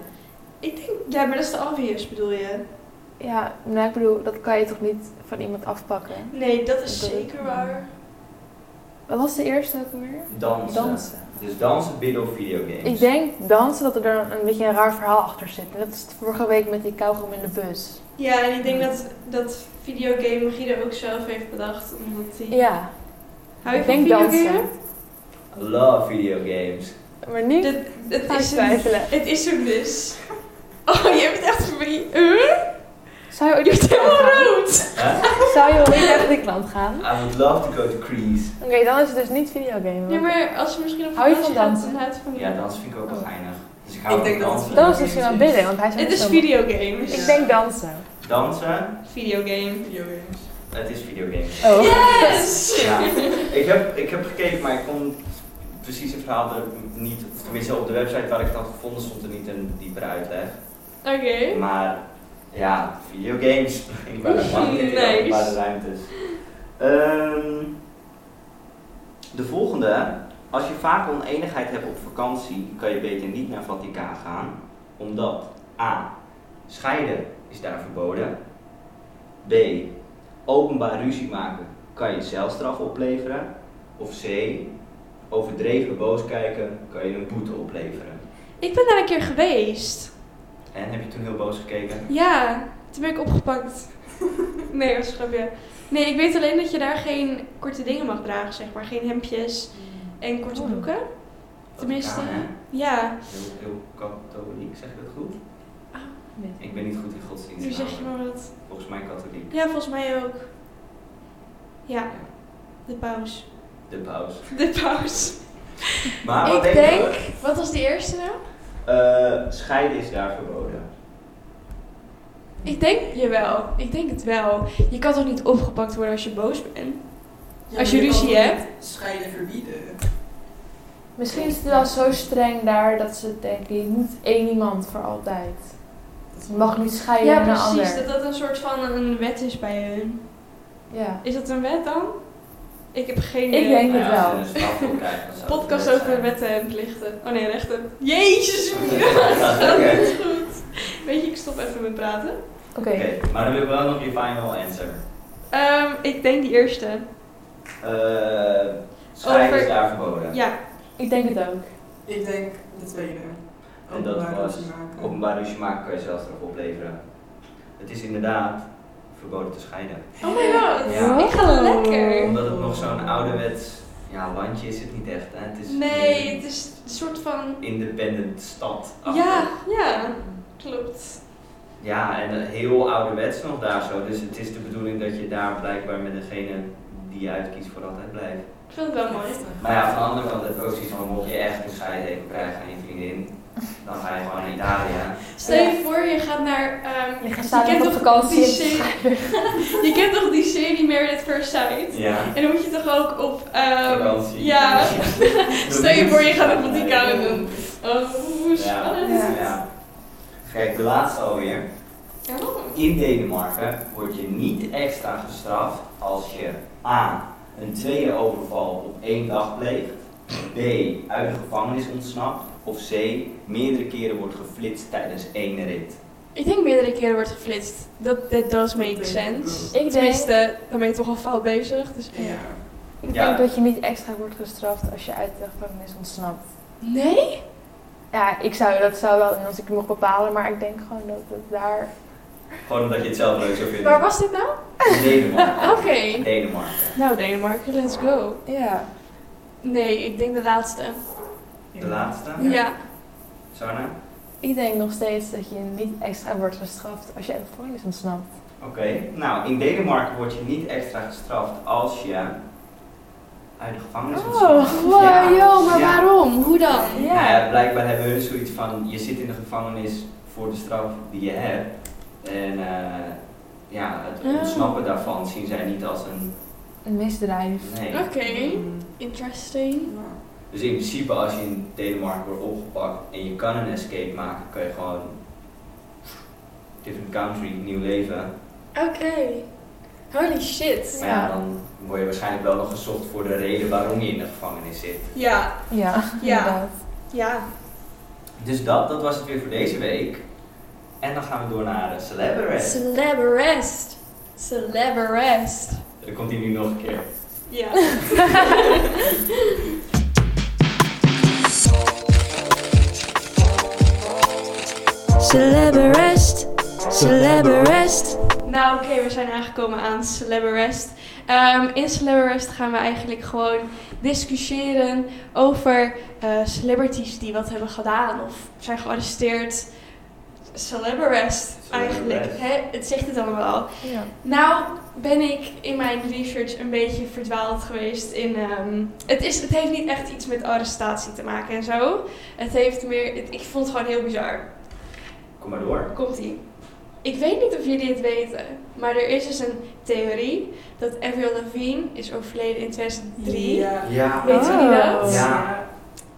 B: Ik denk, ja, maar dat is de obvious bedoel je?
D: Ja, nou ik bedoel, dat kan je toch niet van iemand afpakken?
B: Nee, dat is
D: Dat-
B: zeker waar.
D: Wat was de eerste ook weer?
C: Dansen.
D: Dansen.
C: Dus dansen, bidden of videogames.
D: Ik denk dansen dat er dan een beetje een raar verhaal achter zit. En dat is vorige week met die kauwgom in de bus.
B: Ja, en ik denk dat, dat videogame Guido ook zelf heeft bedacht. Omdat hij...
D: Ja,
B: Hou je
D: ik
B: van
D: denk
B: videogame?
D: dansen.
C: Love videogames.
D: Maar nu
B: Dit- dit
D: ga ik
B: is een,
D: twijfelen.
B: het is een mis. Oh, je hebt het echt verbrieven. Huh?
D: Zou je
B: Je
D: ooit
B: hebt
D: naar
B: helemaal
D: Griekenland
B: rood.
C: Huh?
D: gaan? Zou je ooit naar Griekenland gaan?
C: I would love to go to Greece.
D: Oké, dan is het dus niet videogame.
B: Ja, maar als we misschien op
D: Hou je van
B: vakantie gaan,
D: dansen?
B: dan houdt het van
C: Ja,
B: je.
C: dansen vind ik ook
D: Oh.
C: wel geinig. Dus ik
E: Ik
C: hou
E: denk
C: van
E: dat-
C: dansen.
D: Dat is misschien wel bidden, want hij is
B: Het
D: niet
B: is
D: zo-
B: videogames.
D: Ik denk dansen.
C: Dansen,
B: Videogame.
E: Videogames.
C: het is videogames.
D: Oh.
B: Yes!
C: Ja, ik heb, ik heb gekeken, maar ik kon precies het verhaal er niet, of tenminste op de website waar ik het had gevonden stond er niet een diepere uitleg.
B: Oké.
C: Maar ja, videogames, ik ben er bang in
B: Nice.
C: openbare ruimtes. Ehm, de volgende, als je vaak oneenigheid hebt op vakantie, kan je beter niet naar Vaticaan gaan, omdat A. Scheiden is daar verboden. B. Openbaar ruzie maken kan je celstraf opleveren. Of C. Overdreven boos kijken kan je een boete opleveren.
B: Ik ben daar een keer geweest.
C: En heb je toen heel boos gekeken?
B: Ja, toen ben ik opgepakt. Nee, dat is een grapje. Nee, ik weet alleen dat je daar geen korte dingen mag dragen, zeg maar. Geen hemdjes en korte
D: Oh.
B: broeken. Tenminste,
C: Vaticaan, hè?
B: ja.
C: Heel, heel katholiek, zeg ik dat goed?
D: Weet ik.
C: Ik ben niet goed in godsdienst.
B: Nu zeg je
C: namelijk.
B: maar wat.
C: Volgens mij katholiek.
B: Ja, volgens mij ook. Ja, de paus.
C: De paus.
B: De paus.
C: Maar
A: Ik
C: wat
A: denk-
C: je?
A: Wat was die eerste nou?
C: Eh, scheiden is daar verboden.
A: Ik denk jawel. Ik denk het wel. Je kan toch niet opgepakt worden als je boos bent?
E: Ja,
A: Als je
E: maar kan
A: ruzie
E: toch
A: hebt?
E: niet Scheiden verbieden.
D: Misschien is het wel zo streng daar dat ze denken, je moet één iemand voor altijd.
E: Dat is
D: Je mag niet scheiden
B: Ja,
D: naar een
B: precies.
D: ander.
B: Dat dat een soort van een wet is bij hun.
D: Ja.
B: Is dat een wet dan? Ik heb geen
D: Ik
B: idee.
D: denk het
C: Maar Nou ja, als je
D: wel.
C: er een straf voor krijgt, dan zou het
B: Podcast
C: wet zijn.
B: over wetten en plichten. Oh nee, rechten. Jezus!
C: Oké. Oh,
B: Dat is goed. Weet je, ik stop even met praten.
D: Oké.
C: Oké, maar dan wil ik wel nog je final answer.
B: Ehm, ik denk die eerste.
C: Eh scheiden
B: Over-
C: is daar verboden.
B: Ja.
D: Ik denk het ook.
E: Ik denk de tweede.
C: En dat
E: Openbaar
C: was
E: ruzie maken.
C: openbaar ruzie maken kan je zelfs erop opleveren. Het is inderdaad verboden te scheiden.
B: Oh my god.
C: Ja.
B: Ik ga
D: Oh.
B: lekker.
C: Omdat het nog zo'n ouderwets ja, landje is het niet echt. Hè? Het is
B: Nee,
C: meer
B: het is een soort van...
C: een independent stad.
B: Ja, ja. Klopt.
C: Ja, en eh, heel ouderwets nog daar zo. Dus het is de bedoeling dat je daar blijkbaar met degene die je uitkiest voor altijd blijft.
B: Ik vind het wel mooi.
C: Maar ja, van de andere kant heb ik ook zoiets van, mocht je echt een scheiding krijgen aan je vriendin, dan ga je gewoon naar Italië.
B: Stel je voor, je gaat naar... ehm,
D: Je gaat staan
B: kent
D: op
B: toch
D: vakantie.
B: die
D: en te
B: serie-
D: scheiden.
B: je kent toch die serie Meredith First Sight?
C: Ja.
B: En dan moet je toch ook op... ehm,
C: Vakantie.
B: ja. Stel je voor, je gaat naar Vaticaan en dan... Oh, hoe
C: Ja.
B: spannend.
C: Ja. Kijk, de laatste alweer.
B: Oh.
C: In Denemarken word je niet extra gestraft als je A. een tweede overval op één dag pleegt, B. uit de gevangenis ontsnapt, of C. meerdere keren wordt geflitst tijdens één rit.
A: Ik denk meerdere keren wordt geflitst. Dat that does make sense.
D: Ik denk,
A: Tenminste, dan ben je toch al fout bezig. Dus
E: Ja.
D: ik
C: Ja.
D: denk dat je niet extra wordt gestraft als je uit de gevangenis ontsnapt.
A: nee?
D: Ja, ik zou, dat zou wel, en als ik het mocht bepalen, maar ik denk gewoon dat het daar...
C: Gewoon omdat je het zelf leuk zou
A: Waar
C: vinden.
A: was dit nou?
C: In Denemarken.
A: Oké.
C: Denemarken.
A: Nou, Denemarken, let's go.
D: Ja.
A: Nee, ik denk de laatste.
C: De laatste.
A: Ja.
C: Sarna?
D: Ik denk nog steeds dat je niet extra wordt gestraft als je uit de gevangenis ontsnapt.
C: Oké. Nou, in Denemarken word je niet extra gestraft als je uit de gevangenis ontsnapt.
D: wow,
C: Ja.
A: Yo, Oh, maar
C: Ja.
A: waarom? Hoe dan?
C: Nou
D: Ja.
C: ja, blijkbaar hebben hun zoiets van, je zit in de gevangenis voor de straf die je hebt. En eh, ja, het
A: Ah.
C: ontsnappen daarvan zien zij niet als een
D: Een misdrijf.
C: nee.
A: Oké.
E: Mm.
A: Interesting.
E: Ja.
C: Dus in principe als je in Denemarken wordt opgepakt en je kan een escape maken, kan je gewoon different country, nieuw leven.
A: Oké. Holy shit.
C: Maar ja,
D: Ja.
C: dan word je waarschijnlijk wel nog gezocht voor de reden waarom je in de gevangenis zit.
B: Ja,
D: Ja, inderdaad.
B: ja.
C: Dus dat, dat was het weer voor deze week. En dan gaan we door naar de celebrity.
A: Celebrest. Celebrest.
C: Dan komt hij nu nog een keer.
B: Ja.
A: Celebrest. Celebrest.
B: Nou oké, we zijn aangekomen aan Celebrest. Ehm in Celebrest gaan we eigenlijk gewoon discussiëren over eh, celebrities die wat hebben gedaan of zijn gearresteerd. Celebrest eigenlijk.
C: Celebrest.
B: Hè? Het zegt het allemaal al.
D: Ja.
B: Nou ben ik in mijn research een beetje verdwaald geweest in... ehm, het, is, het heeft niet echt iets met arrestatie te maken en zo. Het heeft meer... het- ik vond het gewoon heel bizar.
C: Kom maar door.
B: Komt ie. Ik weet niet of jullie het weten, maar er is dus een theorie dat Avril Lavigne is overleden in 2003. Ja,
E: Ja.
C: Ja.
B: Weet jullie
D: Oh.
B: dat?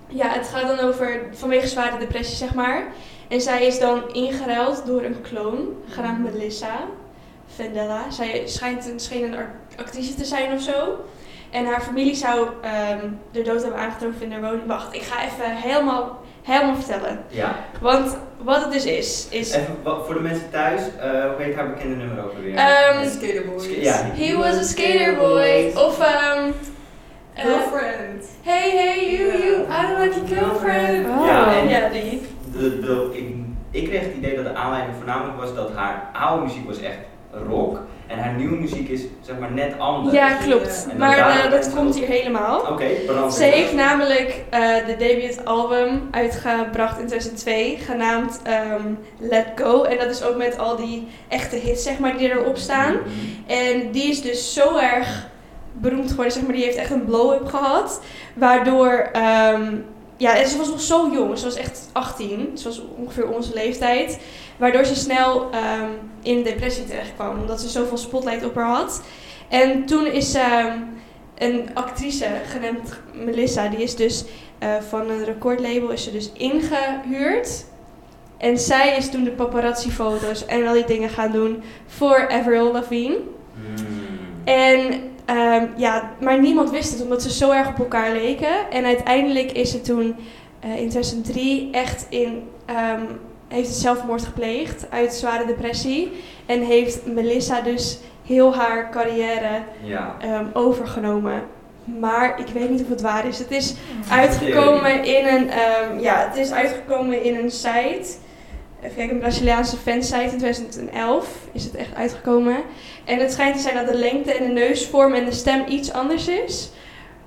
C: Ja.
B: het gaat dan over vanwege zware depressie, zeg maar. En zij is dan ingeruild door een kloon, genaamd
C: Mhm.
B: Melissa Vendella. Zij schijnt een, scheen een ar- actrice te zijn of zo. En haar familie zou ehm de dood hebben aangetroffen in haar woning. Wacht, ik ga even helemaal, helemaal vertellen.
C: Ja.
B: Want wat het dus is, is...
C: Even wa- voor de mensen thuis, eh, hoe heet haar bekende nummer ook alweer?
B: ehm,
E: En Skaterboys.
C: Sk- ja.
B: He was a skater boy. Of ehm eh,
E: Girlfriend.
B: hey, hey, you, you, I don't like your girlfriend.
D: Oh.
C: Ja, en-
B: Ja, die.
C: De, de, ik, ik kreeg het idee dat de aanleiding voornamelijk was dat haar oude muziek was echt rock. En haar nieuwe muziek is zeg maar net anders.
B: Ja, klopt.
C: En dan
B: Maar
C: daar-
B: eh, dat komt hier helemaal.
C: Oké, brand
B: Ze heeft namelijk eh, de debuutalbum uitgebracht in 2002, genaamd ehm, Let Go. En dat is ook met al die echte hits, zeg maar, die erop staan. En die is dus zo erg beroemd geworden, zeg maar. Die heeft echt een blow-up gehad. Waardoor, ehm, ja, en ze was nog zo jong. Ze was echt 18. Ze was ongeveer onze leeftijd. Waardoor ze snel ehm, in depressie terechtkwam, omdat ze zoveel spotlight op haar had. En toen is ehm, een actrice genaamd Melissa, die is dus eh, van een recordlabel, is ze dus ingehuurd. En zij is toen de paparazzi-foto's en al die dingen gaan doen voor Avril Lavigne.
C: Mm.
B: En ehm, ja, maar niemand wist het omdat ze zo erg op elkaar leken. En uiteindelijk is ze toen eh, in 2003 echt in. ehm, heeft ze zelfmoord gepleegd uit zware depressie. En heeft Melissa dus heel haar carrière
C: Ja.
B: ehm, overgenomen. Maar ik weet niet of het waar is. Het is uitgekomen in een, ehm, ja, het is uitgekomen in een site. Even kijken, een Braziliaanse fansite in 2011 is het echt uitgekomen. En het schijnt te zijn dat de lengte en de neusvorm en de stem iets anders is.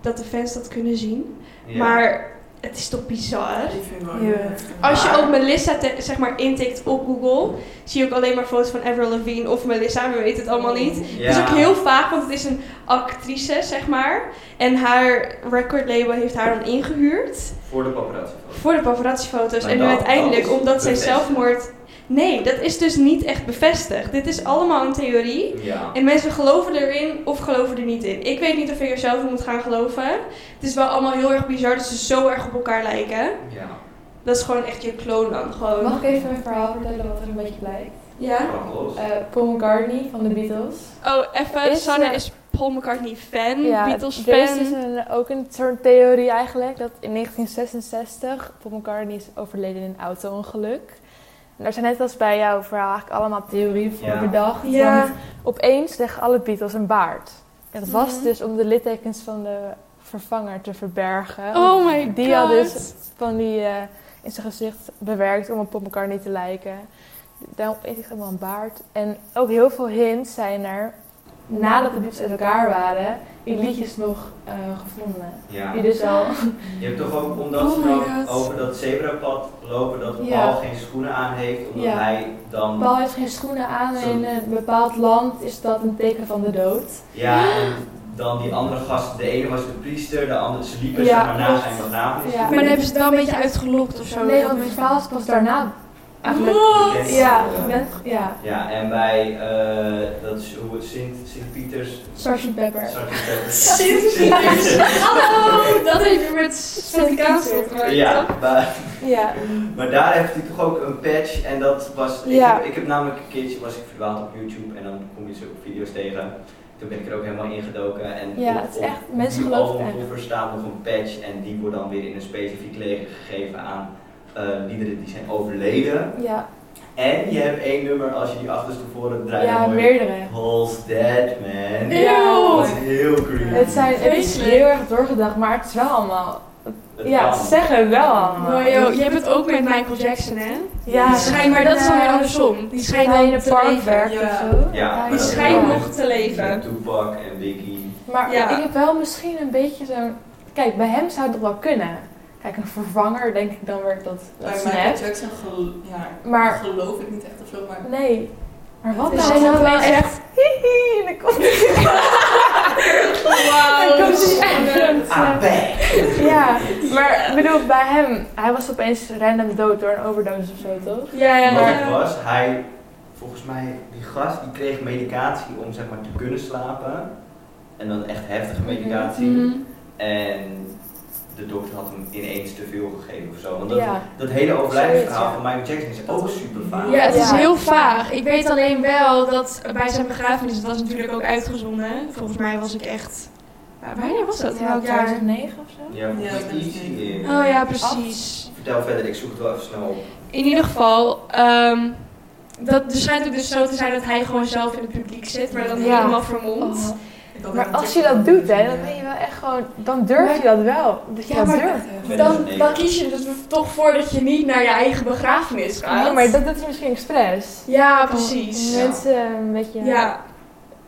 B: Dat de fans dat kunnen zien.
C: ja.
B: Maar het is toch bizar.
E: Ik vind het wel
D: Ja.
E: heel Oh, heftig.
B: Als je
E: Maar-
B: ook Melissa te- zeg maar intikt op Google, zie je ook alleen maar foto's van Avril Lavigne of Melissa. We weten het allemaal niet.
C: ja.
B: Het is ook heel vaag, want het is een actrice, zeg maar. En haar recordlabel heeft haar dan ingehuurd
C: Voor de paparazzi foto.
B: voor de paparazzi-foto's.
C: Maar
B: En nu
C: dat-
B: uiteindelijk,
C: Nou, dat is
B: omdat zij
C: bevestigd.
B: zelfmoord... Nee, dat is dus niet echt bevestigd. Dit is allemaal een theorie.
C: Ja.
B: En mensen geloven erin of geloven er niet in. Ik weet niet of ik er zelf in moet gaan geloven. Het is wel allemaal heel erg bizar dat ze zo erg op elkaar lijken.
C: Ja.
B: Dat is gewoon echt je kloon dan. Gewoon.
D: Mag ik even een verhaal vertellen wat er een beetje blijkt?
B: Ja?
C: Brand los.
D: Eh, Paul McCartney van de Beatles.
I: Oh, even,
D: Is,
I: Sanne
D: eh,
I: is Paul McCartney-fan,
D: er
I: Beatles-fan.
D: is dus een- ook een soort theorie eigenlijk dat in 1966 Paul McCartney is overleden in een auto-ongeluk. En er zijn net als bij jouw verhaal eigenlijk allemaal theorieën voor
C: Ja.
D: bedacht.
B: Ja.
D: Want opeens leggen alle Beatles een baard. En dat was
B: Mhm.
D: dus om de littekens van de vervanger te verbergen.
I: Oh my god.
D: die had dus van die eh, in zijn gezicht bewerkt om op Paul McCartney te lijken. Daarom eet ik helemaal een baard. En ook heel veel hints zijn er, nadat de Beatles uit elkaar waren, in liedjes nog eh, gevonden.
C: Ja.
D: Die dus al...
C: Je hebt toch ook, omdat
E: Oh
C: ze
E: my
C: dan
E: God.
C: over dat zebrapad lopen, dat Paul
D: Ja.
C: geen schoenen aan heeft, omdat
D: Ja.
C: hij dan...
D: Paul heeft geen schoenen aan en in een bepaald land is dat een teken van de dood.
C: Ja, en dan die andere gast, de ene was de priester, de andere, ze liepen
D: Ja,
C: zeg maar na
D: klopt.
C: zijn begrafenis.
D: Ja.
B: Maar dan hebben ze het wel een beetje uitgelokt of zo. Ah,
D: Nee, want het verhaal is pas daarna eigenlijk...
C: Bekend.
D: Ja, bent, ja,
C: Ja, en bij, eh dat is hoe het Sint, Sint Pieters...
D: Sgt. Pepper.
C: Sint Pieters.
B: Sint Pieters. Hallo! Dat heeft met Sinterklaas te maken, toch?
C: Ja, maar,
D: Ja,
C: maar daar heeft hij toch ook een patch en dat was... Ik,
D: Ja.
C: heb, ik heb namelijk een keertje, was ik verdwaald op YouTube en dan kom je zulke video's tegen. Toen ben ik er ook helemaal ingedoken en
D: ja
C: op-
D: het is
C: op
D: echt... Mensen
C: die
D: geloven het echt.
C: albumcover staat nog een patch en die wordt dan weer in een specifiek leger gegeven aan eh, liederen die zijn overleden.
D: Ja,
C: En je hebt één nummer als je die achterstevoren draait.
D: ja
C: dan hoor je
D: meerdere.
C: Paul's Dead Man.
D: Eeuw.
C: Dat is heel creepy.
D: Het, zijn, het is
B: Vreselijk.
D: heel erg doorgedacht, maar het is wel allemaal.
C: Het
D: ja,
C: kan.
D: ze zeggen het wel allemaal.
B: Maar joh, je hebt het ook met Michael Jackson, hè?
D: Ja,
B: Die schijnt, maar dat is dan weer
D: ja.
B: andersom. Die schijnt
D: Ga je in
B: dan
D: een
B: te
D: park
B: leven.
D: werken
E: Ja.
D: of zo?
C: Ja,
D: Ga
B: Die
C: maar dat
D: je in een
C: is
B: schijnt
D: park.
C: wel-
B: nog te
C: Met
B: leven.
C: Tupac en Biggie.
D: Maar
B: Ja.
D: ik heb wel misschien een beetje zo'n. Kijk, bij hem zou het nog wel kunnen. Kijk, een vervanger denk ik dan weer dat,
E: Bij
D: dat
E: Michael
D: snap.
E: Jackson gel- ja,
D: Maar
E: geloof ik niet echt of zo, maar...
D: nee. Maar wat
B: Het
D: nou?
B: is
D: Zijn
B: toch
D: dan wel
B: wel
D: echt. Hihi, en dan komt Dan komt hij echt.
C: Ah, bang.
D: Ja, maar ik bedoel, bij hem, hij was opeens random dood door een overdosis of zo, toch?
B: Ja, ja,
D: eh,
C: Wat het
B: ja.
C: was, hij, volgens mij, die gast, die kreeg medicatie om zeg maar te kunnen slapen. En dan echt heftige medicatie.
B: Mhm.
C: En de dokter had hem ineens te veel gegeven of zo. Want dat,
D: Ja.
C: dat hele overlijdensverhaal
D: Zoiets,
C: van Michael Jackson is ook super vaag.
B: Ja, het is
D: Ja.
B: heel vaag. Ik weet alleen wel dat bij zijn begrafenis, dat was natuurlijk ook uitgezonden. Volgens mij was ik echt... Waar- Wanneer was dat?
D: Ja,
B: Welk jaar?
D: 2009 of zo?
C: Ja, volgens mij
E: Ja,
C: iets hier.
B: Oh ja, precies.
C: Vertel verder, ik zoek het wel even snel op.
B: In ieder geval, ehm, dat, er schijnt ook dus zo te zijn dat hij gewoon zelf in het publiek zit, maar dan
D: Ja. Oh,
B: helemaal vermomd.
E: Ik had
D: Maar
E: hem
D: als je
E: natuurlijk wel
D: dat doet, hè,
E: gezien,
D: dan ben je wel echt gewoon. Dan durf je dat wel. Dat je
B: Ja,
D: dat
B: maar-
D: durft.
B: Dan, dan kies je er toch voor dat je niet naar je eigen begrafenis gaat.
D: Nee, maar dat doet hij misschien expres.
B: Ja, precies.
D: Om mensen een beetje
B: Ja,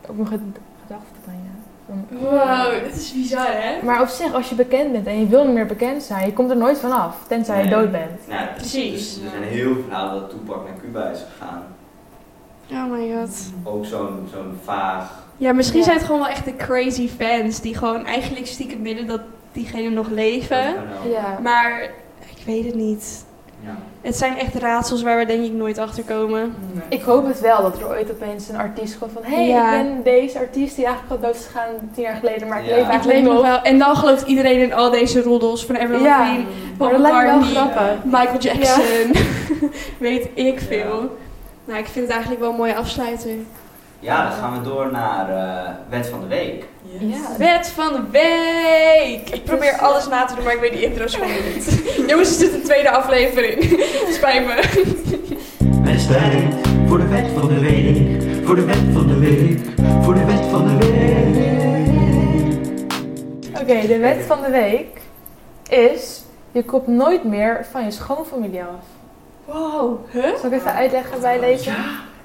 D: op mijn ged- gedachten bijna. Van-
B: Wow, dat is bizar, hè?
D: Maar op zich, als je bekend bent en je wil niet meer bekend zijn, je komt er nooit vanaf, tenzij je
C: Nee.
D: dood bent.
C: Nou,
B: Precies.
C: Dus er zijn heel veel verhalen dat Toepak naar Cuba is gegaan.
E: Oh my god.
C: Ook zo'n zo'n vaag.
B: Ja, misschien
D: Ja.
B: zijn het gewoon wel echt de crazy fans die gewoon eigenlijk stiekem willen dat diegenen nog leven.
D: Ja.
B: Maar ik weet het niet.
C: Ja.
B: Het zijn echt raadsels waar we denk ik nooit achter komen.
D: Ik hoop het wel dat er ooit opeens een artiest komt van hé, hey,
B: Ja.
D: ik ben deze artiest die eigenlijk al dood is gegaan tien jaar geleden, maar ik
C: Ja.
D: leef
B: Ik
D: eigenlijk
B: leef nog
D: nog.
B: wel. En dan gelooft iedereen in al deze roddels van Everyone
D: Ja.
B: Green,
D: Maar dat lijkt me wel
B: McCartney,
D: grappig.
B: Michael Jackson. weet ik
C: Ja.
B: veel. Nou, ik vind het eigenlijk wel een mooie afsluiter.
C: ja, dan gaan we door naar eh Wet van de Week.
D: Ja.
B: Wet van de week! Ik probeer
D: Dus, eh,
B: alles na te doen, maar ik weet die intro's gewoon niet. Jongens, er zit een tweede aflevering. Spijt me.
G: Het spijt voor de wet van de week, voor de wet van de week, voor de wet van de week.
D: Oké, de wet van de week is je komt nooit meer van je schoonfamilie af.
B: Wow, huh?
D: Zal ik even uitleggen bij lezen?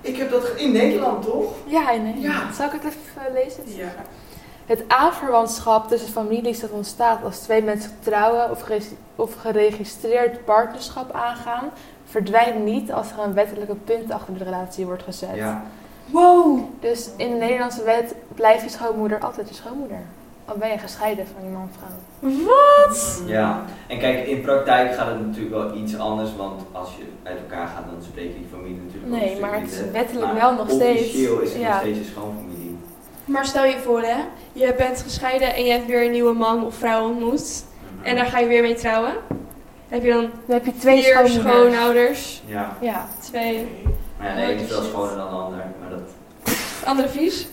C: Ik heb dat ge- in Nederland toch?
D: Ja, nee.
C: Ja.
D: Zal ik het even eh, lezen?
J: Ja.
D: Het aanverwantschap tussen families dat ontstaat als twee mensen trouwen of, gereg- of geregistreerd partnerschap aangaan, verdwijnt niet als er een wettelijke punt achter de relatie wordt gezet.
C: Ja.
B: Wow!
D: Dus in de Nederlandse wet blijft je schoonmoeder altijd je schoonmoeder. Al ben je gescheiden van je man of vrouw.
B: Wat?
C: Ja. En kijk, in praktijk gaat het natuurlijk wel iets anders, want als je uit elkaar gaat, dan spreek je die familie natuurlijk ook een
D: Nee,
C: stuk
D: maar het is
C: minder.
D: wettelijk
C: Maar
D: wel nog steeds.
C: Officieel is het nog
D: Ja.
C: steeds je schoonfamilie.
B: Maar stel je voor, hè? Je bent gescheiden en je hebt weer een nieuwe man of vrouw ontmoet. En daar ga je weer mee trouwen. Heb je dan
D: Dan heb je twee
B: vier
D: schoonmoeders.
B: schoonouders?
C: Ja.
D: Ja.
B: Twee.
C: Maar ja, de ene is wel schoner dan de ander, maar dat
B: Andere vies?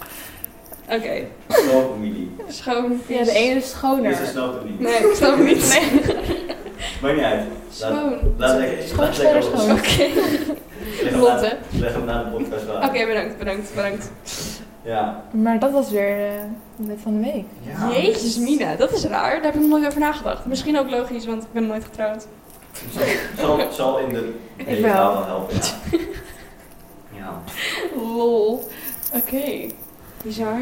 B: Oké.
C: is schoonfamilie.
B: Schoon.
D: ja, de ene is schoner.
C: Dus dat snapt het niet.
B: Nee, ik snap het niet. Nee.
C: Maakt niet uit.
B: Schoon.
C: Laat lekker. Laat
D: Schoonvader,
C: lekker.
D: schoon.
B: Oké.
C: Leg hem
B: Lotte.
C: na- Leg hem na de podcast wel.
B: Oké, bedankt, bedankt, bedankt.
C: Ja.
D: Maar dat was weer eh, de wet van de week.
C: Ja.
B: Jezus, Mina, dat is raar. Daar heb ik nog nooit over nagedacht. Misschien ook logisch, want ik ben nooit getrouwd.
C: Zal, zal in de hele
D: wel.
C: taal wel helpen. Ja. ja.
B: Lol. Oké. Bizar.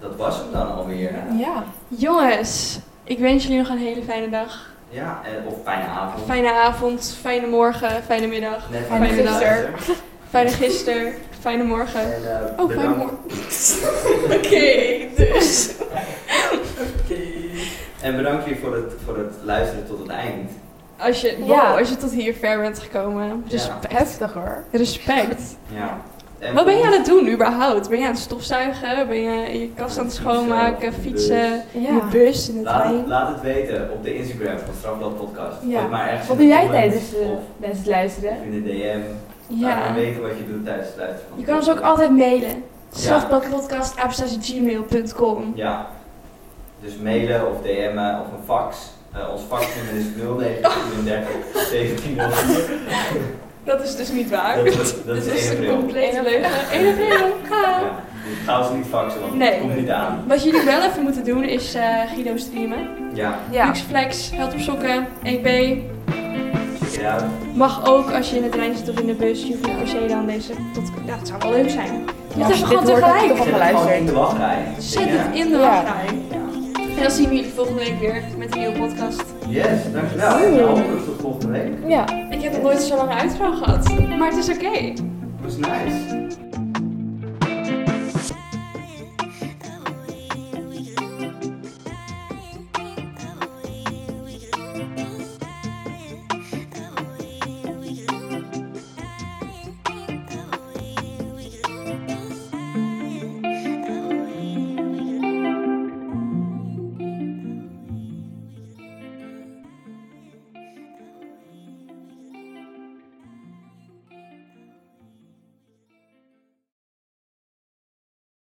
C: Dat was hem dan alweer. hè?
D: Ja.
B: Jongens, ik wens jullie nog een hele fijne dag.
C: Ja, en, of fijne avond.
B: Fijne avond, fijne morgen, fijne middag,
C: Net
D: Fijne
C: wat je
B: gister.
C: luistert.
B: fijne gisteren, fijne morgen.
C: En, eh,
B: Oh, fijne
C: bedankt.
B: morgen. Oké, dus.
C: En bedankt jullie voor het, voor het luisteren tot het eind.
B: Als je, wow,
D: Ja.
B: als je tot hier ver bent gekomen. Dus Respect.
D: Heftig hoor.
B: Respect.
C: Ja. En
B: Wat ben je
C: volgens-
B: aan het doen überhaupt? Ben je aan het stofzuigen? Ben je je kast aan het schoonmaken,
C: Fietsen,
B: fietsen, in de
D: Ja.
B: bus, in de
C: Laat,
B: trein?
C: laat het weten op de Instagram van Strafblad Podcast.
D: Ja.
C: Of maar ergens
D: Wat
C: in
D: doe
C: de
D: jij
C: comments
D: tijdens
C: Of
D: de tijdens het luisteren?
C: of in de DM. Laat me
B: eh, Ja.
C: weten wat je doet tijdens het luisteren van
B: Je
C: de
B: kan ons ook
C: podcast.
B: altijd mailen.
C: Ja.
B: Strafbladpodcast.gmail.com
C: Ja. Dus mailen of DM'en of een fax. Eh, ons faxnummer is 0934 1704.
B: Dat is dus niet waar.
C: Dat is- dat is
B: Dit
C: 1
B: een
C: april.
B: complete leugen. 1 april. Ha.
C: Ja. Dus ga ze niet faxen, want
B: Nee.
C: het komt niet aan.
B: Wat jullie wel even moeten doen is eh, Guido streamen.
C: Ja,
D: Ja.
B: Luxflex, Held op Sokken, EP.
C: check it out.
B: Mag ook als je in de trein zit of in de bus, Juvenile OC dan deze podcast. Ja, het zou wel leuk zijn.
D: Ja,
B: Ja,
D: als
B: is
D: je
B: gewoon
D: dit hoort, heb je
B: tegelijk.
D: toch al-
C: Zet het
D: geluisterd.
C: gewoon in de wachtrij.
B: Zet het in de
D: Ja.
B: wachtrij. En dan zien we jullie volgende week weer met een nieuwe podcast.
C: Yes, dankjewel. Nou, hopelijk tot volgende week.
D: Ja.
B: Ik heb nog nooit zo lang uitvraag gehad, maar het is oké.
C: Was nice.